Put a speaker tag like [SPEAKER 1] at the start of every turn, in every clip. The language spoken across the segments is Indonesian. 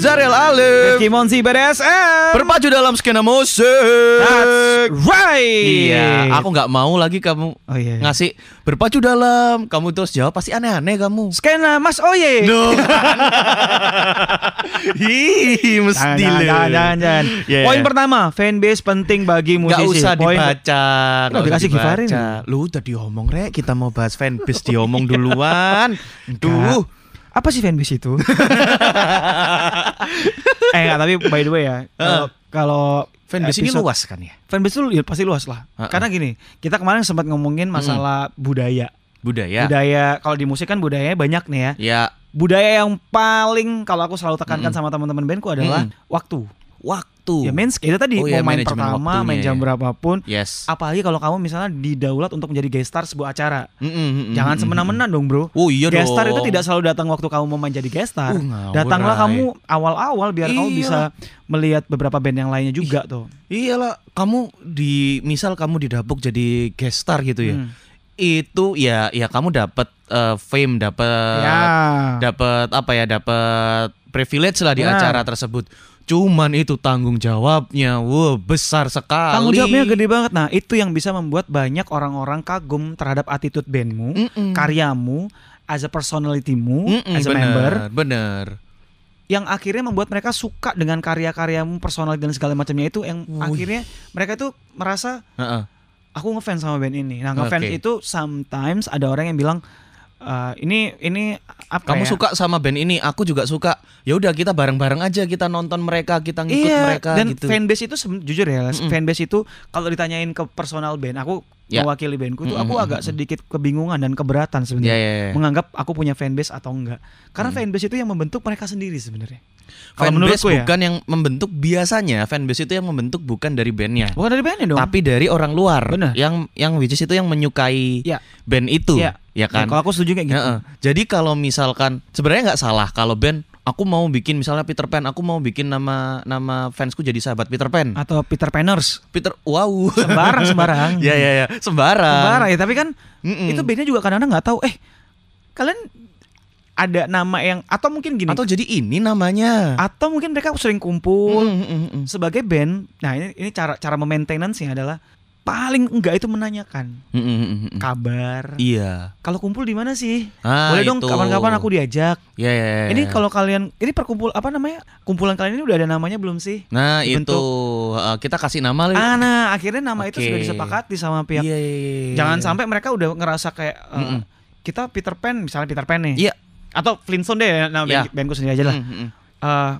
[SPEAKER 1] Zarel Alif
[SPEAKER 2] Rifki Monsi BDSM
[SPEAKER 1] berpacu dalam skena musik.
[SPEAKER 2] That's right
[SPEAKER 1] Iya, aku nggak mau lagi kamu
[SPEAKER 2] Oh iya
[SPEAKER 1] ngasih berpacu dalam. Kamu terus jawab pasti aneh-aneh kamu.
[SPEAKER 2] Skena Mas Oye
[SPEAKER 1] Duh. Ih,
[SPEAKER 2] Jangan,
[SPEAKER 1] mesti
[SPEAKER 2] jangan,
[SPEAKER 1] lu.
[SPEAKER 2] jangan, jangan, jangan.
[SPEAKER 1] Iya.
[SPEAKER 2] nah, Poin pertama, fanbase penting bagi
[SPEAKER 1] Nggak
[SPEAKER 2] musisi.
[SPEAKER 1] usah
[SPEAKER 2] Poin-
[SPEAKER 1] dibaca nggak
[SPEAKER 2] Udah
[SPEAKER 1] usah
[SPEAKER 2] dikasih
[SPEAKER 1] dibaca.
[SPEAKER 2] Gifarin.
[SPEAKER 1] Lu udah diomong rek Kita mau bahas fanbase Diomong duluan
[SPEAKER 2] Duh.
[SPEAKER 1] Duh
[SPEAKER 2] Apa sih fanbase itu? eh enggak, tapi by the way ya. kalau- Kalau
[SPEAKER 1] Fanbase ini
[SPEAKER 2] episode-
[SPEAKER 1] luas kan ya
[SPEAKER 2] Fanbase itu ya pasti luas lah.
[SPEAKER 1] Heeh. Hmm.
[SPEAKER 2] Karena gini, kita kemarin sempat ngomongin masalah budaya.
[SPEAKER 1] Budaya
[SPEAKER 2] Budaya kalau di musik kan budayanya banyak nih ya.
[SPEAKER 1] Ya
[SPEAKER 2] Budaya yang paling kalau aku selalu
[SPEAKER 1] Hmm.
[SPEAKER 2] tekankan sama teman-teman bandku adalah
[SPEAKER 1] Mm-mm.
[SPEAKER 2] waktu.
[SPEAKER 1] Waktu
[SPEAKER 2] Ya main itu tadi
[SPEAKER 1] Oh, ya,
[SPEAKER 2] mau main
[SPEAKER 1] manajemen
[SPEAKER 2] pertama,
[SPEAKER 1] waktunya
[SPEAKER 2] main jam
[SPEAKER 1] ya.
[SPEAKER 2] berapapun.
[SPEAKER 1] Yes
[SPEAKER 2] Apalagi kalau kamu misalnya didaulat untuk menjadi guest star sebuah acara.
[SPEAKER 1] Mm-mm, mm-mm,
[SPEAKER 2] Jangan
[SPEAKER 1] mm-mm.
[SPEAKER 2] semena-mena dong, Bro.
[SPEAKER 1] Oh iya
[SPEAKER 2] guest star
[SPEAKER 1] dong.
[SPEAKER 2] itu tidak selalu datang waktu kamu mau menjadi guest star.
[SPEAKER 1] Uh, ngawur,
[SPEAKER 2] Datanglah
[SPEAKER 1] Rai.
[SPEAKER 2] kamu awal-awal biar kamu
[SPEAKER 1] Iya.
[SPEAKER 2] bisa melihat beberapa band yang lainnya juga tuh.
[SPEAKER 1] Iyalah Kamu di Misal kamu didapuk jadi guest star gitu ya
[SPEAKER 2] Hmm.
[SPEAKER 1] Itu ya ya kamu dapat eh, fame dapat
[SPEAKER 2] ya.
[SPEAKER 1] dapat apa ya dapat privilege lah di
[SPEAKER 2] Benar.
[SPEAKER 1] acara tersebut cuman itu tanggung jawabnya wow besar sekali
[SPEAKER 2] Tanggung jawabnya gede banget. Nah, itu yang bisa membuat banyak orang-orang kagum terhadap attitude bandmu,
[SPEAKER 1] Mm-mm.
[SPEAKER 2] karyamu, as a personalitymu,
[SPEAKER 1] Mm-mm,
[SPEAKER 2] as a
[SPEAKER 1] bener,
[SPEAKER 2] member,
[SPEAKER 1] bener
[SPEAKER 2] yang akhirnya membuat mereka suka dengan karya-karyamu, personal dan segala macamnya itu yang
[SPEAKER 1] Wih.
[SPEAKER 2] akhirnya mereka itu merasa
[SPEAKER 1] Heeh.
[SPEAKER 2] aku ngefans sama band ini. Nah, ngefans
[SPEAKER 1] Oke.
[SPEAKER 2] itu sometimes ada orang yang bilang "Eh, ini ini apa
[SPEAKER 1] kamu
[SPEAKER 2] ya?
[SPEAKER 1] suka sama band ini aku juga suka ya udah kita bareng bareng aja kita nonton mereka kita ngikut
[SPEAKER 2] Iya,
[SPEAKER 1] mereka
[SPEAKER 2] dan
[SPEAKER 1] gitu
[SPEAKER 2] fanbase itu seben- jujur ya, Les,
[SPEAKER 1] Mm-mm.
[SPEAKER 2] fanbase itu kalau ditanyain ke personal band, aku
[SPEAKER 1] Ya.
[SPEAKER 2] mewakili bandku tuh aku
[SPEAKER 1] Mm-mm,
[SPEAKER 2] agak sedikit kebingungan dan
[SPEAKER 1] ya,
[SPEAKER 2] keberatan sebenarnya
[SPEAKER 1] ya, ya. Mm.
[SPEAKER 2] menganggap aku punya fanbase atau enggak. Karena fanbase itu yang membentuk mereka sendiri sebenarnya. Kalau
[SPEAKER 1] fanbase
[SPEAKER 2] menurutku ya.
[SPEAKER 1] bukan yang membentuk biasanya fanbase itu yang membentuk bukan dari bandnya
[SPEAKER 2] Bukan dari bandnya Iya, dong.
[SPEAKER 1] tapi dari orang luar
[SPEAKER 2] Bener.
[SPEAKER 1] yang yang which is itu yang menyukai
[SPEAKER 2] Ya.
[SPEAKER 1] band itu
[SPEAKER 2] Ya.
[SPEAKER 1] ya
[SPEAKER 2] Ya,
[SPEAKER 1] kan
[SPEAKER 2] kalau aku setuju kayak gitu.
[SPEAKER 1] Heeh. Jadi kalau misalkan sebenarnya nggak salah kalau band aku mau bikin misalnya Peter Pan, aku mau bikin nama nama fansku jadi sahabat Peter Pan.
[SPEAKER 2] Atau Peter Panners
[SPEAKER 1] Peter wow.
[SPEAKER 2] sembarang sembarang.
[SPEAKER 1] ya Hmm. ya ya, sembarang.
[SPEAKER 2] Sembarang ya, tapi kan
[SPEAKER 1] Mm-mm.
[SPEAKER 2] itu bandnya juga kadang-kadang nggak tahu eh kalian ada nama yang atau mungkin gini
[SPEAKER 1] atau jadi ini namanya.
[SPEAKER 2] atau mungkin mereka sering kumpul
[SPEAKER 1] Mm, mm, mm, mm.
[SPEAKER 2] sebagai band nah ini ini cara cara memaintenance-nya adalah paling enggak itu menanyakan
[SPEAKER 1] Mm, mm, mm, mm.
[SPEAKER 2] kabar
[SPEAKER 1] Iya.
[SPEAKER 2] kalau kumpul di mana sih
[SPEAKER 1] Ah,
[SPEAKER 2] boleh dong
[SPEAKER 1] itu.
[SPEAKER 2] kapan-kapan aku diajak
[SPEAKER 1] Ya ya. ya.
[SPEAKER 2] ini kalau kalian ini perkumpul apa namanya kumpulan kalian ini udah ada namanya belum sih
[SPEAKER 1] Nah, itu
[SPEAKER 2] dibentuk-
[SPEAKER 1] Heeh, kita kasih nama lah.
[SPEAKER 2] ah nah akhirnya nama itu
[SPEAKER 1] Iya. Oke.
[SPEAKER 2] sudah disepakati sama pihak
[SPEAKER 1] Iya, iya, iya, iya.
[SPEAKER 2] jangan sampai mereka udah ngerasa kayak eh,
[SPEAKER 1] Mm-mm.
[SPEAKER 2] kita Peter Pan misalnya Peter Pan nih
[SPEAKER 1] Iya.
[SPEAKER 2] atau Flintstone deh Nah, nama
[SPEAKER 1] Ya.
[SPEAKER 2] band- bandku sendiri aja Iya lah
[SPEAKER 1] Mm, mm, mm.
[SPEAKER 2] Eh,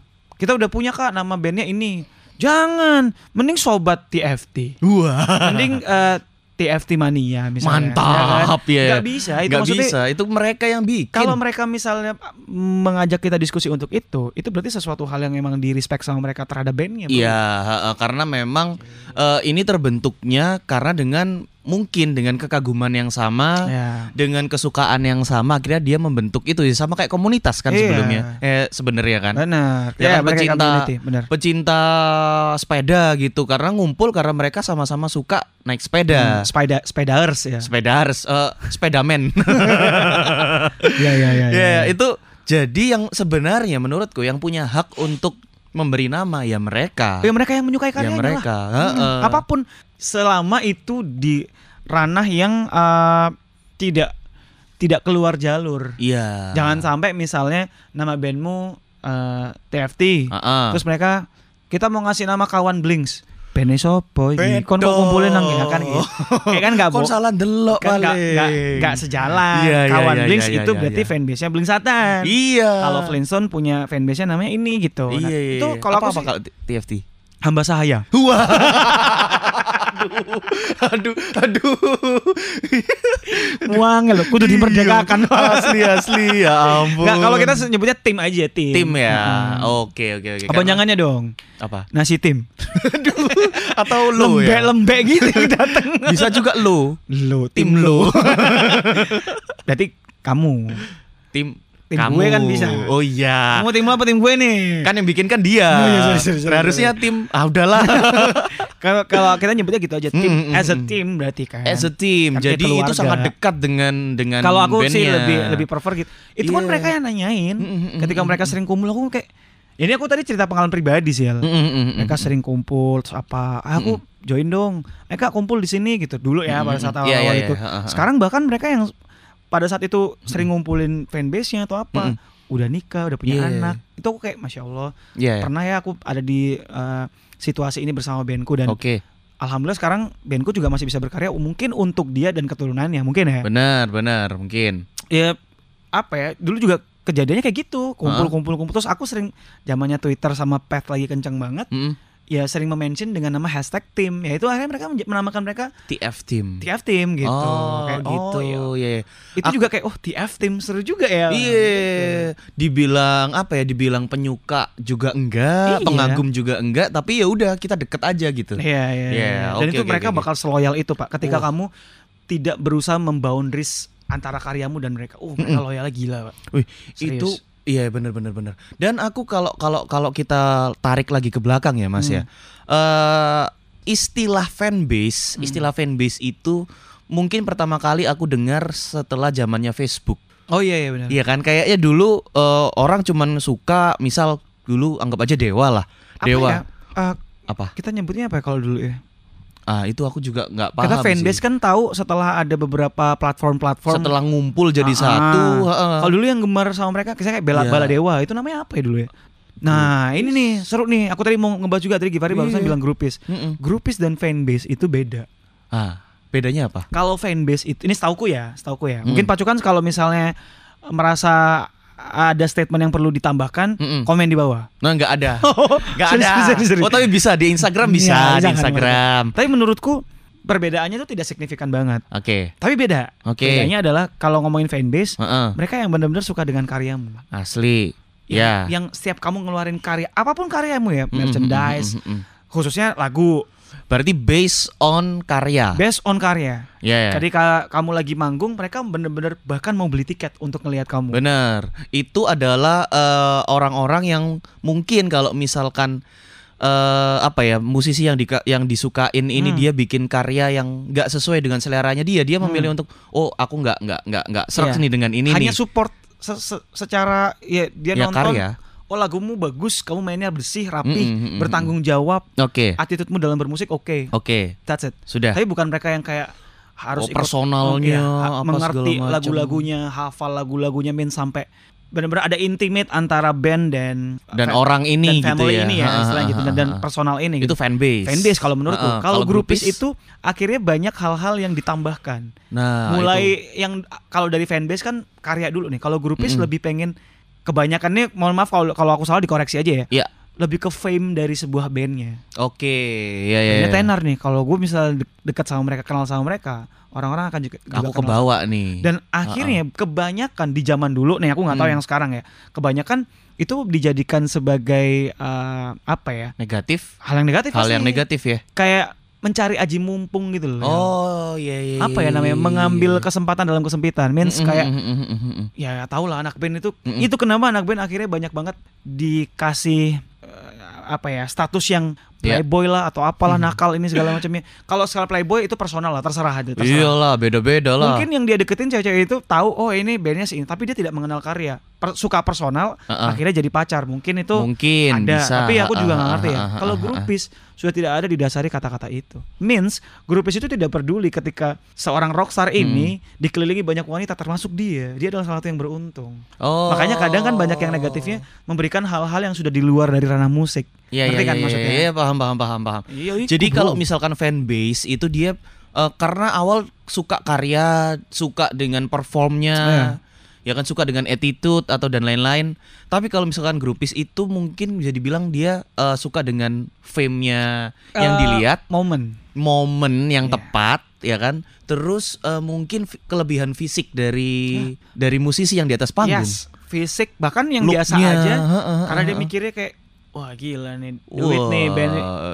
[SPEAKER 2] kita udah punya kak nama bandnya ini jangan mending sobat TFT
[SPEAKER 1] Wah.
[SPEAKER 2] mending eh, TFT mania
[SPEAKER 1] ya.
[SPEAKER 2] misalnya
[SPEAKER 1] Mantap ya.
[SPEAKER 2] Gak bisa itu
[SPEAKER 1] Nggak
[SPEAKER 2] maksudnya
[SPEAKER 1] bisa, itu mereka yang bikin.
[SPEAKER 2] kalau mereka misalnya ah, mengajak kita diskusi untuk itu itu berarti sesuatu hal yang emang di respect sama mereka terhadap bandnya bro.
[SPEAKER 1] Iya, heeh, karena memang eh, ini terbentuknya karena dengan mungkin dengan kekaguman yang sama,
[SPEAKER 2] Ya.
[SPEAKER 1] dengan kesukaan yang sama, akhirnya dia membentuk itu ya sama kayak komunitas kan
[SPEAKER 2] Iya.
[SPEAKER 1] sebelumnya, eh sebenarnya kan.
[SPEAKER 2] benar
[SPEAKER 1] Ya kan,
[SPEAKER 2] mereka
[SPEAKER 1] pecinta-
[SPEAKER 2] community, benar
[SPEAKER 1] Pecinta sepeda gitu, karena ngumpul karena mereka sama-sama suka naik sepeda.
[SPEAKER 2] Hmm, sepeda spedaers ya
[SPEAKER 1] Sepeda harus sepedamen.
[SPEAKER 2] ya ya ya,
[SPEAKER 1] Ya,
[SPEAKER 2] ya.
[SPEAKER 1] itu jadi yang sebenarnya menurutku yang punya hak untuk memberi nama ya mereka.
[SPEAKER 2] Ya, mereka yang
[SPEAKER 1] Ya
[SPEAKER 2] menyukai karyanya lah.
[SPEAKER 1] mereka. heeh.
[SPEAKER 2] Hmm, apapun selama itu di ranah yang eh, tidak tidak keluar jalur.
[SPEAKER 1] Iya.
[SPEAKER 2] Jangan sampai misalnya nama bandmu eh, TFT,
[SPEAKER 1] Heeh.
[SPEAKER 2] terus mereka kita mau ngasih nama kawan Blinks. Bene sopo iki? Kon kok
[SPEAKER 1] Betul.
[SPEAKER 2] ngumpulin nang ya kan gitu. Ya kan enggak
[SPEAKER 1] Kon salah delok
[SPEAKER 2] kan nggak-
[SPEAKER 1] paling.
[SPEAKER 2] nggak- nggak sejalan.
[SPEAKER 1] Iya, iya,
[SPEAKER 2] kawan
[SPEAKER 1] iya,
[SPEAKER 2] Blinks
[SPEAKER 1] iya,
[SPEAKER 2] itu
[SPEAKER 1] iya,
[SPEAKER 2] berarti
[SPEAKER 1] iya.
[SPEAKER 2] fanbase-nya Blinks Satan.
[SPEAKER 1] Iya.
[SPEAKER 2] Kalau Flintstone punya fanbase-nya namanya ini gitu. Nah,
[SPEAKER 1] Iya, iya.
[SPEAKER 2] itu kalau
[SPEAKER 1] apa,
[SPEAKER 2] aku
[SPEAKER 1] apa
[SPEAKER 2] sih,
[SPEAKER 1] kalau T- TFT?
[SPEAKER 2] hamba sahaya.
[SPEAKER 1] Wah. aduh, aduh, aduh.
[SPEAKER 2] Uang lo,
[SPEAKER 1] Iya,
[SPEAKER 2] kudu diperdekakan.
[SPEAKER 1] asli asli ya ampun.
[SPEAKER 2] Nggak, kalau kita nyebutnya tim aja tim.
[SPEAKER 1] tim
[SPEAKER 2] Heeh.
[SPEAKER 1] ya. Oke, oke, oke.
[SPEAKER 2] Apa jangannya dong?
[SPEAKER 1] apa?
[SPEAKER 2] Nasi tim.
[SPEAKER 1] Atau lo ya.
[SPEAKER 2] Lembek-lembek gitu datang.
[SPEAKER 1] Bisa juga lo.
[SPEAKER 2] Lo,
[SPEAKER 1] Tim lo.
[SPEAKER 2] Berarti kamu.
[SPEAKER 1] tim
[SPEAKER 2] tim
[SPEAKER 1] Kamu.
[SPEAKER 2] gue kan bisa.
[SPEAKER 1] Oh iya.
[SPEAKER 2] Kamu tim lo apa tim gue nih?
[SPEAKER 1] Kan yang bikin kan dia.
[SPEAKER 2] Oh, iya, sorry, sorry, sorry,
[SPEAKER 1] Harusnya tim ah udahlah.
[SPEAKER 2] Kalau kalau kita nyebutnya gitu aja tim
[SPEAKER 1] Hmm, hmm,
[SPEAKER 2] as a
[SPEAKER 1] hmm.
[SPEAKER 2] team berarti kan.
[SPEAKER 1] As a team.
[SPEAKER 2] Kan kayak
[SPEAKER 1] Jadi itu
[SPEAKER 2] keluarga.
[SPEAKER 1] sangat dekat dengan dengan
[SPEAKER 2] Kalau aku sih
[SPEAKER 1] bandnya.
[SPEAKER 2] lebih lebih prefer gitu. Itu pun
[SPEAKER 1] Iya.
[SPEAKER 2] mereka yang nanyain.
[SPEAKER 1] Mm, mm, mm,
[SPEAKER 2] Ketika
[SPEAKER 1] mm,
[SPEAKER 2] mereka
[SPEAKER 1] mm.
[SPEAKER 2] sering kumpul aku kayak ini aku tadi cerita pengalaman pribadi sih ya.
[SPEAKER 1] Mm, mm, mm, mm.
[SPEAKER 2] Mereka sering kumpul terus apa? "Ah, aku join dong. Eh Kak kumpul di sini gitu dulu ya
[SPEAKER 1] Mm,
[SPEAKER 2] pada
[SPEAKER 1] mm,
[SPEAKER 2] saat
[SPEAKER 1] mm.
[SPEAKER 2] awal
[SPEAKER 1] Iya, iya,
[SPEAKER 2] itu.
[SPEAKER 1] iya. Ha, ha, ha.
[SPEAKER 2] Sekarang bahkan mereka yang pada saat itu sering ngumpulin fanbase-nya atau
[SPEAKER 1] Mm,
[SPEAKER 2] apa, udah nikah, udah punya
[SPEAKER 1] Iya, iya,
[SPEAKER 2] anak. Itu aku kayak masya Allah.
[SPEAKER 1] Iya, iya.
[SPEAKER 2] Pernah ya aku ada di eh, situasi ini bersama bandku dan
[SPEAKER 1] Oke.
[SPEAKER 2] alhamdulillah sekarang bandku juga masih bisa berkarya mungkin untuk dia dan keturunannya mungkin ya.
[SPEAKER 1] Benar, benar mungkin.
[SPEAKER 2] ya apa ya dulu juga kejadiannya kayak gitu kumpul kumpul kumpul terus aku sering zamannya Twitter sama Path lagi kencang banget
[SPEAKER 1] Mm, mm.
[SPEAKER 2] ya sering mention dengan nama hashtag tim ya itu akhirnya mereka menj- menamakan mereka
[SPEAKER 1] TF team.
[SPEAKER 2] TF tim gitu
[SPEAKER 1] Oh,
[SPEAKER 2] Kayak,
[SPEAKER 1] gitu.
[SPEAKER 2] oh,
[SPEAKER 1] iya.
[SPEAKER 2] iya. itu
[SPEAKER 1] Aku-
[SPEAKER 2] juga kayak oh TF tim seru juga ya
[SPEAKER 1] Iya, dibilang apa ya? Dibilang penyuka juga enggak,
[SPEAKER 2] Iya.
[SPEAKER 1] pengagum juga enggak, tapi ya udah kita deket aja gitu.
[SPEAKER 2] Iya, iya,
[SPEAKER 1] Iya,
[SPEAKER 2] iya. Dan
[SPEAKER 1] oke,
[SPEAKER 2] itu
[SPEAKER 1] oke, oke.
[SPEAKER 2] mereka
[SPEAKER 1] Oh.
[SPEAKER 2] bakal seloyal itu, Pak. Ketika
[SPEAKER 1] Wah.
[SPEAKER 2] kamu tidak berusaha memboundaries antara karyamu dan mereka. Uh, mereka loyalnya gila, Pak.
[SPEAKER 1] Wih,
[SPEAKER 2] Serius.
[SPEAKER 1] itu iya benar benar benar. Dan aku kalau kalau kalau kita tarik lagi ke belakang ya Mas
[SPEAKER 2] Hmm.
[SPEAKER 1] ya. Eh istilah fanbase,
[SPEAKER 2] Hmm.
[SPEAKER 1] istilah fanbase itu mungkin pertama kali aku dengar setelah zamannya Facebook.
[SPEAKER 2] Oh iya, iya benar.
[SPEAKER 1] Iya kan kayaknya dulu eh, orang cuman suka misal dulu anggap aja dewa lah.
[SPEAKER 2] Apa
[SPEAKER 1] Dewa
[SPEAKER 2] ya? Eh,
[SPEAKER 1] apa?
[SPEAKER 2] kita nyebutnya apa ya kalau dulu ya?
[SPEAKER 1] Ah, itu aku juga nggak paham
[SPEAKER 2] Karena fanbase
[SPEAKER 1] sih.
[SPEAKER 2] kan tahu setelah ada beberapa platform-platform
[SPEAKER 1] Setelah ngumpul jadi
[SPEAKER 2] Ah, ah.
[SPEAKER 1] satu, heeh.
[SPEAKER 2] Kalau dulu yang gemar sama mereka kisah kayak bela
[SPEAKER 1] Iya.
[SPEAKER 2] bala dewa itu namanya apa ya dulu ya? Nah, ini nih seru nih. Aku tadi mau ngebahas juga tadi Givari barusan
[SPEAKER 1] Iya.
[SPEAKER 2] bilang grupis.
[SPEAKER 1] Mm-mm.
[SPEAKER 2] Grupis dan fanbase itu beda.
[SPEAKER 1] Ah, bedanya apa?
[SPEAKER 2] Kalau fanbase itu ini setauku ya, setauku ya. Mungkin
[SPEAKER 1] Mm.
[SPEAKER 2] pacukan kalau misalnya eh, merasa ada statement yang perlu ditambahkan,
[SPEAKER 1] Mm-mm.
[SPEAKER 2] komen di bawah.
[SPEAKER 1] Nah, nggak ada.
[SPEAKER 2] Oh,
[SPEAKER 1] Nggak
[SPEAKER 2] Serius,
[SPEAKER 1] ada.
[SPEAKER 2] serius, serius.
[SPEAKER 1] Oh, tapi bisa di Instagram bisa,
[SPEAKER 2] Iya,
[SPEAKER 1] di
[SPEAKER 2] jangan,
[SPEAKER 1] Instagram.
[SPEAKER 2] Tapi menurutku perbedaannya itu tidak signifikan banget.
[SPEAKER 1] Oke.
[SPEAKER 2] Tapi beda.
[SPEAKER 1] Oke.
[SPEAKER 2] Bedanya adalah kalau ngomongin fanbase,
[SPEAKER 1] Heeh.
[SPEAKER 2] mereka yang benar-benar suka dengan karyamu.
[SPEAKER 1] Asli.
[SPEAKER 2] yang,
[SPEAKER 1] Ya.
[SPEAKER 2] yang setiap kamu ngeluarin karya apapun karyamu ya
[SPEAKER 1] Mm, mm,
[SPEAKER 2] merchandise
[SPEAKER 1] mm, mm, mm.
[SPEAKER 2] khususnya lagu
[SPEAKER 1] Berarti based on karya.
[SPEAKER 2] based on karya
[SPEAKER 1] Ya.
[SPEAKER 2] jadi ka- kamu lagi manggung mereka bener-bener bahkan mau beli tiket untuk ngelihat kamu
[SPEAKER 1] Bener. Itu adalah eh, orang-orang yang mungkin kalau misalkan eh apa ya musisi yang dika- yang disukain ini
[SPEAKER 2] Hmm.
[SPEAKER 1] dia bikin karya yang nggak sesuai dengan seleranya dia dia memilih untuk oh aku nggak nggak nggak nggak serak
[SPEAKER 2] Iya.
[SPEAKER 1] nih dengan ini nih
[SPEAKER 2] hanya support se- se- secara ya dia
[SPEAKER 1] ya
[SPEAKER 2] nonton
[SPEAKER 1] karya
[SPEAKER 2] oh lagumu bagus kamu mainnya bersih rapi
[SPEAKER 1] Mm, mm, mm, mm.
[SPEAKER 2] bertanggung jawab
[SPEAKER 1] oke
[SPEAKER 2] attitude-mu dalam bermusik oke
[SPEAKER 1] oke
[SPEAKER 2] that's it
[SPEAKER 1] sudah
[SPEAKER 2] tapi bukan mereka yang kayak
[SPEAKER 1] Ya. Oh,
[SPEAKER 2] harus ikut-
[SPEAKER 1] personalnya,
[SPEAKER 2] Iya, ha-
[SPEAKER 1] apa
[SPEAKER 2] mengerti
[SPEAKER 1] segala macam.
[SPEAKER 2] lagu-lagunya hafal lagu-lagunya min sampai benar-benar ada intimate antara band dan
[SPEAKER 1] dan
[SPEAKER 2] fan-
[SPEAKER 1] orang ini
[SPEAKER 2] dan
[SPEAKER 1] gitu
[SPEAKER 2] family
[SPEAKER 1] ya.
[SPEAKER 2] ini ya
[SPEAKER 1] Ha, ha,
[SPEAKER 2] istilahnya gitu
[SPEAKER 1] ha,
[SPEAKER 2] dan, dan
[SPEAKER 1] ha, ha.
[SPEAKER 2] personal ini
[SPEAKER 1] itu
[SPEAKER 2] gitu.
[SPEAKER 1] fanbase.
[SPEAKER 2] fanbase kalau menurutku
[SPEAKER 1] Ha, ha.
[SPEAKER 2] kalau grupis
[SPEAKER 1] grupis-
[SPEAKER 2] itu akhirnya banyak hal-hal yang ditambahkan
[SPEAKER 1] nah itu.
[SPEAKER 2] mulai yang kalau dari fanbase kan karya dulu nih kalau grupis
[SPEAKER 1] Mm-mm.
[SPEAKER 2] lebih pengen kebanyakannya mohon maaf kalau kalau aku salah dikoreksi aja ya
[SPEAKER 1] Iya.
[SPEAKER 2] lebih ke fame dari sebuah bandnya
[SPEAKER 1] oke ya ya.
[SPEAKER 2] Bandnya
[SPEAKER 1] ya.
[SPEAKER 2] tenar nih kalau gue misalnya de- dekat sama mereka kenal sama mereka orang-orang akan juga, juga
[SPEAKER 1] Aku
[SPEAKER 2] kenal.
[SPEAKER 1] kebawa nih.
[SPEAKER 2] dan akhirnya kebanyakan di zaman dulu nih aku nggak tahu
[SPEAKER 1] Hmm.
[SPEAKER 2] yang sekarang ya kebanyakan itu dijadikan sebagai eh, apa ya
[SPEAKER 1] negatif
[SPEAKER 2] hal yang negatif
[SPEAKER 1] hal
[SPEAKER 2] pasti.
[SPEAKER 1] yang negatif ya.
[SPEAKER 2] kayak mencari aji mumpung gitu loh
[SPEAKER 1] Oh iya iya. Mm-hmm,
[SPEAKER 2] apa ya namanya mengambil kesempatan dalam kesempitan means kayak ya tau lah anak band itu
[SPEAKER 1] Mm-mm.
[SPEAKER 2] itu kenapa anak band akhirnya banyak banget dikasih eh, apa ya status yang
[SPEAKER 1] Iya.
[SPEAKER 2] playboy lah atau apalah nakal ini segala macamnya kalau skala playboy itu personal lah terserah aja terserah
[SPEAKER 1] Iyalah beda-beda Iya lah.
[SPEAKER 2] mungkin yang dia deketin cewek-cewek itu tahu oh ini bandnya sih tapi dia tidak mengenal karya Per- suka personal
[SPEAKER 1] Ha-ha.
[SPEAKER 2] akhirnya jadi pacar mungkin itu
[SPEAKER 1] mungkin
[SPEAKER 2] ada
[SPEAKER 1] bisa.
[SPEAKER 2] tapi aku juga nggak
[SPEAKER 1] Ah,
[SPEAKER 2] ngerti ya
[SPEAKER 1] ah, ah,
[SPEAKER 2] kalau
[SPEAKER 1] ah, ah.
[SPEAKER 2] grupis sudah tidak ada didasari kata-kata itu means grupis itu tidak peduli ketika seorang rockstar
[SPEAKER 1] Hmm.
[SPEAKER 2] ini dikelilingi banyak wanita termasuk dia dia adalah salah satu yang beruntung
[SPEAKER 1] Oh.
[SPEAKER 2] makanya kadang kan banyak yang negatifnya memberikan hal-hal yang sudah di luar dari ranah musik
[SPEAKER 1] Iya iya
[SPEAKER 2] ngerti kan
[SPEAKER 1] iya,
[SPEAKER 2] maksudnya?
[SPEAKER 1] iya, paham paham paham paham.
[SPEAKER 2] Iya, iya,
[SPEAKER 1] Jadi
[SPEAKER 2] kubu.
[SPEAKER 1] kalau misalkan fanbase itu dia eh, karena awal suka karya, suka dengan
[SPEAKER 2] Iya.
[SPEAKER 1] performnya, ya kan suka dengan attitude atau dan lain-lain. Tapi kalau misalkan grupis itu mungkin bisa dibilang dia eh, suka dengan fame-nya yang
[SPEAKER 2] Eh,
[SPEAKER 1] dilihat,
[SPEAKER 2] momen
[SPEAKER 1] momen yang
[SPEAKER 2] iya.
[SPEAKER 1] tepat, ya kan. Terus eh, mungkin fi- kelebihan fisik dari
[SPEAKER 2] Iya.
[SPEAKER 1] dari musisi yang di atas panggung.
[SPEAKER 2] yes fisik bahkan yang biasa
[SPEAKER 1] Look-nya,
[SPEAKER 2] aja
[SPEAKER 1] heeh, heeh,
[SPEAKER 2] karena dia
[SPEAKER 1] heeh.
[SPEAKER 2] mikirnya kayak wah gila nih duit nih
[SPEAKER 1] Wah,
[SPEAKER 2] band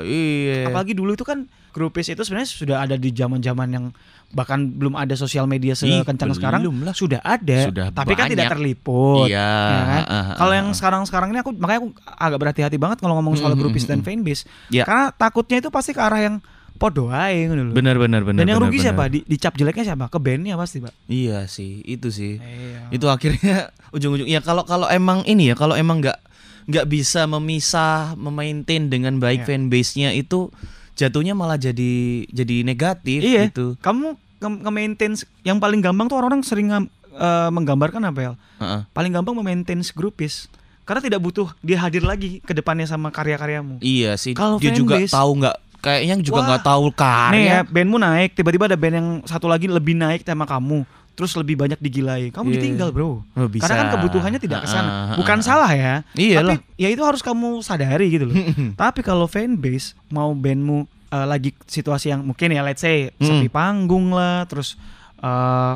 [SPEAKER 1] Iya.
[SPEAKER 2] apalagi dulu itu kan grupis itu sebenarnya sudah ada di zaman-zaman yang bahkan belum ada sosial
[SPEAKER 1] Ih,
[SPEAKER 2] media sekencang sekarang
[SPEAKER 1] belum lah.
[SPEAKER 2] sudah ada
[SPEAKER 1] Sudah
[SPEAKER 2] tapi kan tidak
[SPEAKER 1] banyak.
[SPEAKER 2] terliput
[SPEAKER 1] Iya.
[SPEAKER 2] ya kan?
[SPEAKER 1] ah, ah,
[SPEAKER 2] kalau
[SPEAKER 1] ah,
[SPEAKER 2] yang
[SPEAKER 1] ah.
[SPEAKER 2] sekarang-sekarang ini aku makanya aku agak berhati-hati banget kalau ngomong
[SPEAKER 1] Mm,
[SPEAKER 2] soal
[SPEAKER 1] mm,
[SPEAKER 2] grupis
[SPEAKER 1] mm,
[SPEAKER 2] dan
[SPEAKER 1] mm.
[SPEAKER 2] fanbase
[SPEAKER 1] Iya.
[SPEAKER 2] karena takutnya itu pasti ke arah yang podo ae ngono lho.
[SPEAKER 1] benar benar benar.
[SPEAKER 2] dan yang
[SPEAKER 1] benar,
[SPEAKER 2] rugi
[SPEAKER 1] benar.
[SPEAKER 2] siapa? Di, dicap jeleknya siapa? Ke bandnya pasti, Pak.
[SPEAKER 1] Iya sih, itu sih.
[SPEAKER 2] Iya.
[SPEAKER 1] Itu akhirnya ujung-ujung. Ya kalau kalau emang ini ya, kalau emang nggak nggak bisa memisah, memaintain dengan baik
[SPEAKER 2] Iya.
[SPEAKER 1] fanbase-nya itu jatuhnya malah jadi jadi negatif
[SPEAKER 2] Iya.
[SPEAKER 1] gitu.
[SPEAKER 2] Kamu nge- nge-maintain yang paling gampang tuh orang-orang sering ngam- eh, menggambarkan apa ya?
[SPEAKER 1] Heeh.
[SPEAKER 2] Paling gampang memaintain grupis karena tidak butuh dia hadir lagi ke depannya sama karya-karyamu.
[SPEAKER 1] Iya sih.
[SPEAKER 2] Kalau
[SPEAKER 1] dia juga
[SPEAKER 2] fanbase-
[SPEAKER 1] tahu nggak kayaknya juga
[SPEAKER 2] Wah,
[SPEAKER 1] nggak tahu
[SPEAKER 2] Nih ya,
[SPEAKER 1] karya.
[SPEAKER 2] bandmu naik, tiba-tiba ada band yang satu lagi lebih naik sama kamu, terus lebih banyak digilai. Kamu
[SPEAKER 1] Iya.
[SPEAKER 2] ditinggal, Bro.
[SPEAKER 1] Oh, bisa.
[SPEAKER 2] Karena kan kebutuhannya tidak ke sana.
[SPEAKER 1] Ah, ah, ah,
[SPEAKER 2] Bukan
[SPEAKER 1] ah.
[SPEAKER 2] salah ya.
[SPEAKER 1] Iya
[SPEAKER 2] Tapi
[SPEAKER 1] lah.
[SPEAKER 2] ya itu harus kamu sadari gitu loh. Tapi kalau fanbase mau bandmu eh, lagi situasi yang mungkin ya let's say
[SPEAKER 1] Hmm.
[SPEAKER 2] sepi panggung lah, terus eh,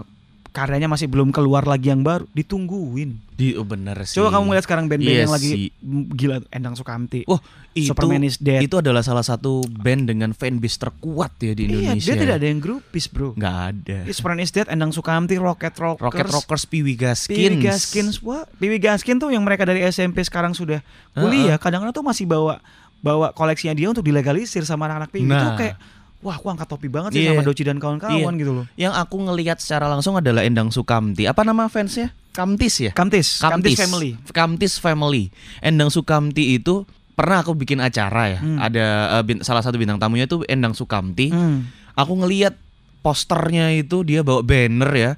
[SPEAKER 2] karyanya masih belum keluar lagi yang baru, ditungguin.
[SPEAKER 1] Di oh, bener sih.
[SPEAKER 2] Coba kamu lihat sekarang band-band
[SPEAKER 1] Iya
[SPEAKER 2] yang lagi
[SPEAKER 1] sih.
[SPEAKER 2] mm, gila Endang Sukamti.
[SPEAKER 1] Wah, itu
[SPEAKER 2] Superman is dead.
[SPEAKER 1] itu adalah salah satu band dengan fanbase terkuat ya di
[SPEAKER 2] iya,
[SPEAKER 1] Indonesia.
[SPEAKER 2] dia tidak ada yang grupis, Bro.
[SPEAKER 1] Nggak ada.
[SPEAKER 2] Is Superman is dead, Endang Sukamti, Rocket Rockers.
[SPEAKER 1] Rocket Rockers, Piwi Gaskins.
[SPEAKER 2] Piwi Gaskins, wah, Piwi Gaskin tuh yang mereka dari SMP sekarang sudah kuliah, kadang-kadang tuh masih bawa bawa koleksinya dia untuk dilegalisir sama anak-anak Piwi itu
[SPEAKER 1] Nah.
[SPEAKER 2] kayak wah, aku angkat topi banget sih
[SPEAKER 1] Iya.
[SPEAKER 2] sama Doci dan kawan-kawan gitu loh.
[SPEAKER 1] Yang aku ngelihat secara langsung adalah Endang Sukamti. Apa nama fansnya? Kamtis ya?
[SPEAKER 2] Kamtis, Kamtis, Family.
[SPEAKER 1] Kamtis Family. Endang Sukamti itu pernah aku bikin acara ya.
[SPEAKER 2] Hmm.
[SPEAKER 1] Ada eh, bin- salah satu bintang tamunya itu Endang Sukamti.
[SPEAKER 2] Hmm.
[SPEAKER 1] Aku ngelihat posternya itu dia bawa banner ya.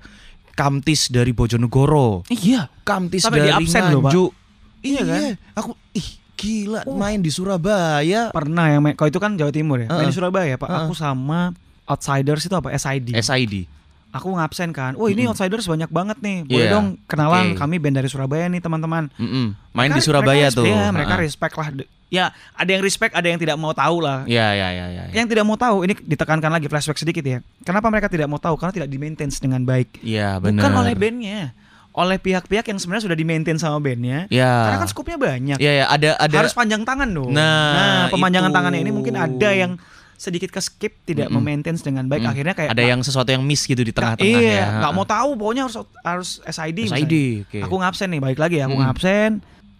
[SPEAKER 1] Kamtis dari Bojonegoro.
[SPEAKER 2] Iya,
[SPEAKER 1] Kamtis
[SPEAKER 2] Sampai
[SPEAKER 1] dari
[SPEAKER 2] dia absen loh, Pak.
[SPEAKER 1] Nganjuk.
[SPEAKER 2] Iya kan?
[SPEAKER 1] Aku ih gila
[SPEAKER 2] Uh.
[SPEAKER 1] main di Surabaya.
[SPEAKER 2] pernah yang main, kalau itu kan Jawa Timur ya, main di
[SPEAKER 1] Heeh.
[SPEAKER 2] Surabaya Pak.
[SPEAKER 1] Heeh.
[SPEAKER 2] Aku sama Outsiders itu apa SID.
[SPEAKER 1] SID.
[SPEAKER 2] aku ngabsen kan. Wah, ini
[SPEAKER 1] Mm-mm.
[SPEAKER 2] Outsiders banyak banget nih. Boleh
[SPEAKER 1] Iya.
[SPEAKER 2] dong kenalan
[SPEAKER 1] Oke.
[SPEAKER 2] kami band dari Surabaya nih, teman-teman.
[SPEAKER 1] Mm-mm. Main
[SPEAKER 2] Mereka-
[SPEAKER 1] di Surabaya
[SPEAKER 2] mereka,
[SPEAKER 1] tuh. Ah.
[SPEAKER 2] Iya, mereka
[SPEAKER 1] Ha-ha.
[SPEAKER 2] respect lah. De- Ya, ada yang respect, ada yang tidak mau tahu lah.
[SPEAKER 1] Ya ya ya ya. ya.
[SPEAKER 2] Yang tidak mau tahu ini ditekankan lagi flashback sedikit ya. Kenapa mereka tidak mau tahu? Karena tidak di maintain dengan baik.
[SPEAKER 1] Iya benar.
[SPEAKER 2] Bukan oleh bandnya, oleh pihak-pihak yang sebenarnya sudah di maintain sama bandnya.
[SPEAKER 1] Ya.
[SPEAKER 2] Karena kan skupnya banyak.
[SPEAKER 1] Ya ya ada ada
[SPEAKER 2] Harus panjang tangan dong.
[SPEAKER 1] Nah,
[SPEAKER 2] pemanjangan
[SPEAKER 1] itu.
[SPEAKER 2] tangannya ini mungkin ada yang sedikit ke skip tidak
[SPEAKER 1] Mm-mm.
[SPEAKER 2] memaintain dengan baik.
[SPEAKER 1] Mm.
[SPEAKER 2] Akhirnya kayak
[SPEAKER 1] ada yang sesuatu yang miss gitu di
[SPEAKER 2] nggak-
[SPEAKER 1] tengah-tengah ya.
[SPEAKER 2] iya, nggak mau tahu. Pokoknya harus harus SID. misalnya.
[SPEAKER 1] SID. Oke.
[SPEAKER 2] Aku ngabsen nih, balik lagi ya, aku
[SPEAKER 1] Mm.
[SPEAKER 2] ngabsen.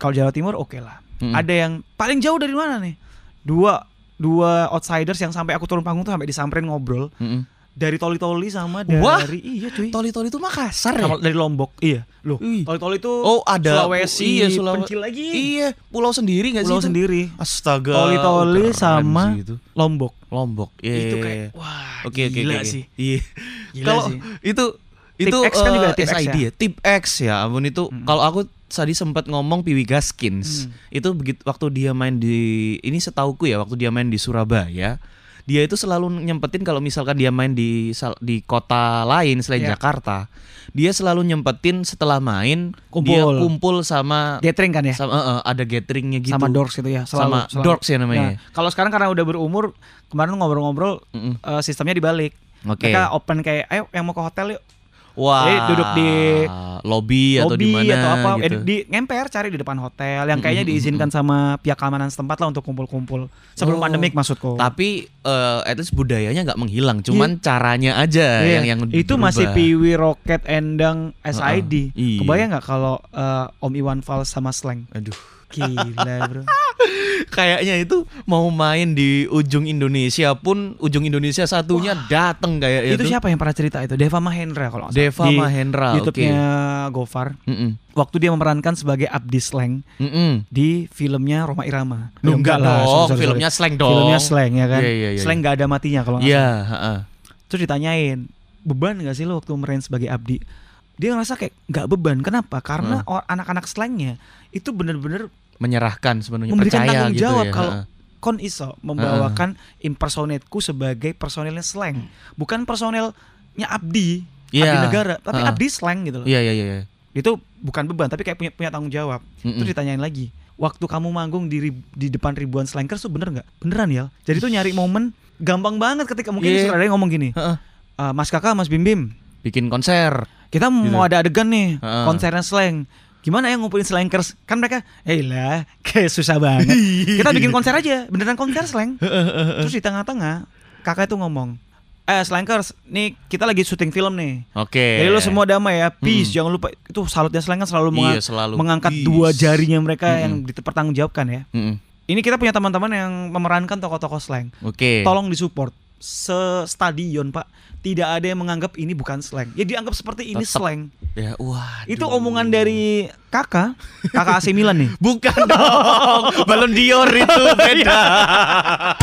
[SPEAKER 2] Kalau Jawa Timur oke lah.
[SPEAKER 1] Mm-mm.
[SPEAKER 2] Ada yang paling jauh dari mana nih? Dua dua outsiders yang sampai aku turun panggung tuh sampai disamperin ngobrol
[SPEAKER 1] Mm-mm.
[SPEAKER 2] dari toli-toli sama dari
[SPEAKER 1] Wah.
[SPEAKER 2] iya cuy.
[SPEAKER 1] Toli-toli itu Makassar ya.
[SPEAKER 2] Kalau dari Lombok. Iya. Loh,
[SPEAKER 1] Ih.
[SPEAKER 2] toli-toli itu
[SPEAKER 1] Oh, ada
[SPEAKER 2] Sulawesi,
[SPEAKER 1] iya, Sulawe-
[SPEAKER 2] pencil lagi.
[SPEAKER 1] Iya, pulau sendiri nggak sih?
[SPEAKER 2] Pulau
[SPEAKER 1] itu?
[SPEAKER 2] sendiri.
[SPEAKER 1] Astaga.
[SPEAKER 2] Toli-toli
[SPEAKER 1] keren
[SPEAKER 2] sama-
[SPEAKER 1] sih itu.
[SPEAKER 2] Lombok.
[SPEAKER 1] Lombok. Iya.
[SPEAKER 2] Itu
[SPEAKER 1] iya,
[SPEAKER 2] kayak
[SPEAKER 1] iya.
[SPEAKER 2] wah,
[SPEAKER 1] Oke oke
[SPEAKER 2] Ah, gila
[SPEAKER 1] oke, oke.
[SPEAKER 2] sih.
[SPEAKER 1] Iya.
[SPEAKER 2] Gila
[SPEAKER 1] Kalau
[SPEAKER 2] sih.
[SPEAKER 1] itu itu
[SPEAKER 2] Tip X kan juga
[SPEAKER 1] eh,
[SPEAKER 2] Tip X
[SPEAKER 1] SID
[SPEAKER 2] ya?
[SPEAKER 1] ya. Tip X ya. Ampun itu
[SPEAKER 2] Mm-mm.
[SPEAKER 1] kalau aku tadi sempat ngomong Piwi Gaskins.
[SPEAKER 2] Hmm.
[SPEAKER 1] Itu begitu waktu dia main di ini setauku ya waktu dia main di Surabaya, dia itu selalu nyempetin kalau misalkan dia main di sal- di kota lain selain
[SPEAKER 2] Iya.
[SPEAKER 1] Jakarta, dia selalu nyempetin setelah main dia
[SPEAKER 2] Kumpul.
[SPEAKER 1] kumpul sama
[SPEAKER 2] Gathering kan ya?
[SPEAKER 1] sama eh, eh, ada gatheringnya gitu.
[SPEAKER 2] Sama Dorks gitu ya, selalu,
[SPEAKER 1] Sama
[SPEAKER 2] selalu.
[SPEAKER 1] Dorks ya namanya.
[SPEAKER 2] Nah, kalau sekarang karena udah berumur, kemarin ngobrol-ngobrol
[SPEAKER 1] Mm-mm.
[SPEAKER 2] eh, sistemnya dibalik.
[SPEAKER 1] Oke.
[SPEAKER 2] Mereka open kayak ayo yang mau ke hotel yuk
[SPEAKER 1] Wah.
[SPEAKER 2] Jadi Eh, duduk di-
[SPEAKER 1] lobby Iya, atau di
[SPEAKER 2] lobby
[SPEAKER 1] mana
[SPEAKER 2] atau apa Eh,
[SPEAKER 1] gitu.
[SPEAKER 2] di ngemper cari di depan hotel yang
[SPEAKER 1] Mm,
[SPEAKER 2] kayaknya
[SPEAKER 1] mm, mm,
[SPEAKER 2] diizinkan sama pihak keamanan setempat lah untuk kumpul-kumpul sebelum
[SPEAKER 1] Oh.
[SPEAKER 2] pandemik maksudku.
[SPEAKER 1] tapi eh at least budayanya nggak menghilang cuman caranya aja
[SPEAKER 2] Iya,
[SPEAKER 1] yang yang
[SPEAKER 2] itu
[SPEAKER 1] berubah.
[SPEAKER 2] masih Piwi Rocket Endang SID.
[SPEAKER 1] Heeh, iya.
[SPEAKER 2] Kebayang nggak kalau eh, Om Iwan Fals sama Slang?
[SPEAKER 1] aduh
[SPEAKER 2] Gila, Bro.
[SPEAKER 1] kayaknya itu mau main di ujung Indonesia pun ujung Indonesia satunya dateng kayak Ya, itu,
[SPEAKER 2] itu siapa yang pernah cerita itu? Deva Mahendra kalau nggak salah.
[SPEAKER 1] Deva
[SPEAKER 2] Di
[SPEAKER 1] Mahendra oke
[SPEAKER 2] YouTube-nya Gofar.
[SPEAKER 1] Mm-mm.
[SPEAKER 2] Waktu dia memerankan sebagai Abdi Slang
[SPEAKER 1] Mm-mm.
[SPEAKER 2] di filmnya Roma Irama.
[SPEAKER 1] Duh,
[SPEAKER 2] Eh,
[SPEAKER 1] enggak
[SPEAKER 2] lah,
[SPEAKER 1] dong
[SPEAKER 2] sorry, sorry,
[SPEAKER 1] filmnya slang dong
[SPEAKER 2] filmnya slang ya kan
[SPEAKER 1] Iya, iya, iya,
[SPEAKER 2] slang nggak ada matinya kalau nggak
[SPEAKER 1] Iya,
[SPEAKER 2] salah.
[SPEAKER 1] heeh.
[SPEAKER 2] terus ditanyain beban nggak sih lo waktu meren sebagai abdi dia ngerasa kayak nggak beban kenapa karena or- anak-anak slangnya itu bener-bener
[SPEAKER 1] menyerahkan sebenarnya
[SPEAKER 2] Memberikan
[SPEAKER 1] percaya
[SPEAKER 2] tanggung
[SPEAKER 1] gitu
[SPEAKER 2] jawab
[SPEAKER 1] ya
[SPEAKER 2] kalau-
[SPEAKER 1] heeh.
[SPEAKER 2] kon iso membawakan impersonateku sebagai personelnya slang bukan personelnya abdi abdi
[SPEAKER 1] Iya.
[SPEAKER 2] negara tapi
[SPEAKER 1] Heeh.
[SPEAKER 2] abdi slang gitu loh
[SPEAKER 1] iya iya iya iya.
[SPEAKER 2] itu bukan beban tapi kayak punya punya tanggung jawab
[SPEAKER 1] Mm-mm.
[SPEAKER 2] Terus ditanyain lagi, waktu kamu manggung di rib- di depan ribuan slankers tuh bener nggak? Beneran ya. Jadi tuh nyari momen gampang banget ketika mungkin
[SPEAKER 1] Iya.
[SPEAKER 2] sutradara ngomong gini,
[SPEAKER 1] Heeh.
[SPEAKER 2] "Eh, Mas Kakak, Mas Bim Bim,
[SPEAKER 1] bikin konser
[SPEAKER 2] kita
[SPEAKER 1] Gitu.
[SPEAKER 2] mau ada adegan nih
[SPEAKER 1] Heeh.
[SPEAKER 2] konsernya slang. gimana ya ngumpulin slankers kan mereka eh lah kayak susah banget kita bikin konser aja beneran konser slang terus di tengah-tengah kakak itu ngomong eh slankers nih kita lagi syuting film nih
[SPEAKER 1] Oke.
[SPEAKER 2] jadi lo semua damai ya peace
[SPEAKER 1] Hmm.
[SPEAKER 2] jangan lupa itu salutnya slankers kan selalu, menga-
[SPEAKER 1] Iya, selalu.
[SPEAKER 2] mengangkat
[SPEAKER 1] Peace. Hmm.
[SPEAKER 2] dua jarinya mereka
[SPEAKER 1] Mm-mm.
[SPEAKER 2] yang dipertanggungjawabkan ya
[SPEAKER 1] Mm-mm.
[SPEAKER 2] ini kita punya teman-teman yang memerankan tokoh-tokoh slang
[SPEAKER 1] Oke.
[SPEAKER 2] tolong disupport se-stadion pak tidak ada yang menganggap ini bukan slang ya dianggap seperti ini
[SPEAKER 1] Tetep.
[SPEAKER 2] slang
[SPEAKER 1] Ya, waduh.
[SPEAKER 2] itu omongan dari kakak kakak AC Milan nih Iya.
[SPEAKER 1] Bukan dong. Balon Dior itu beda.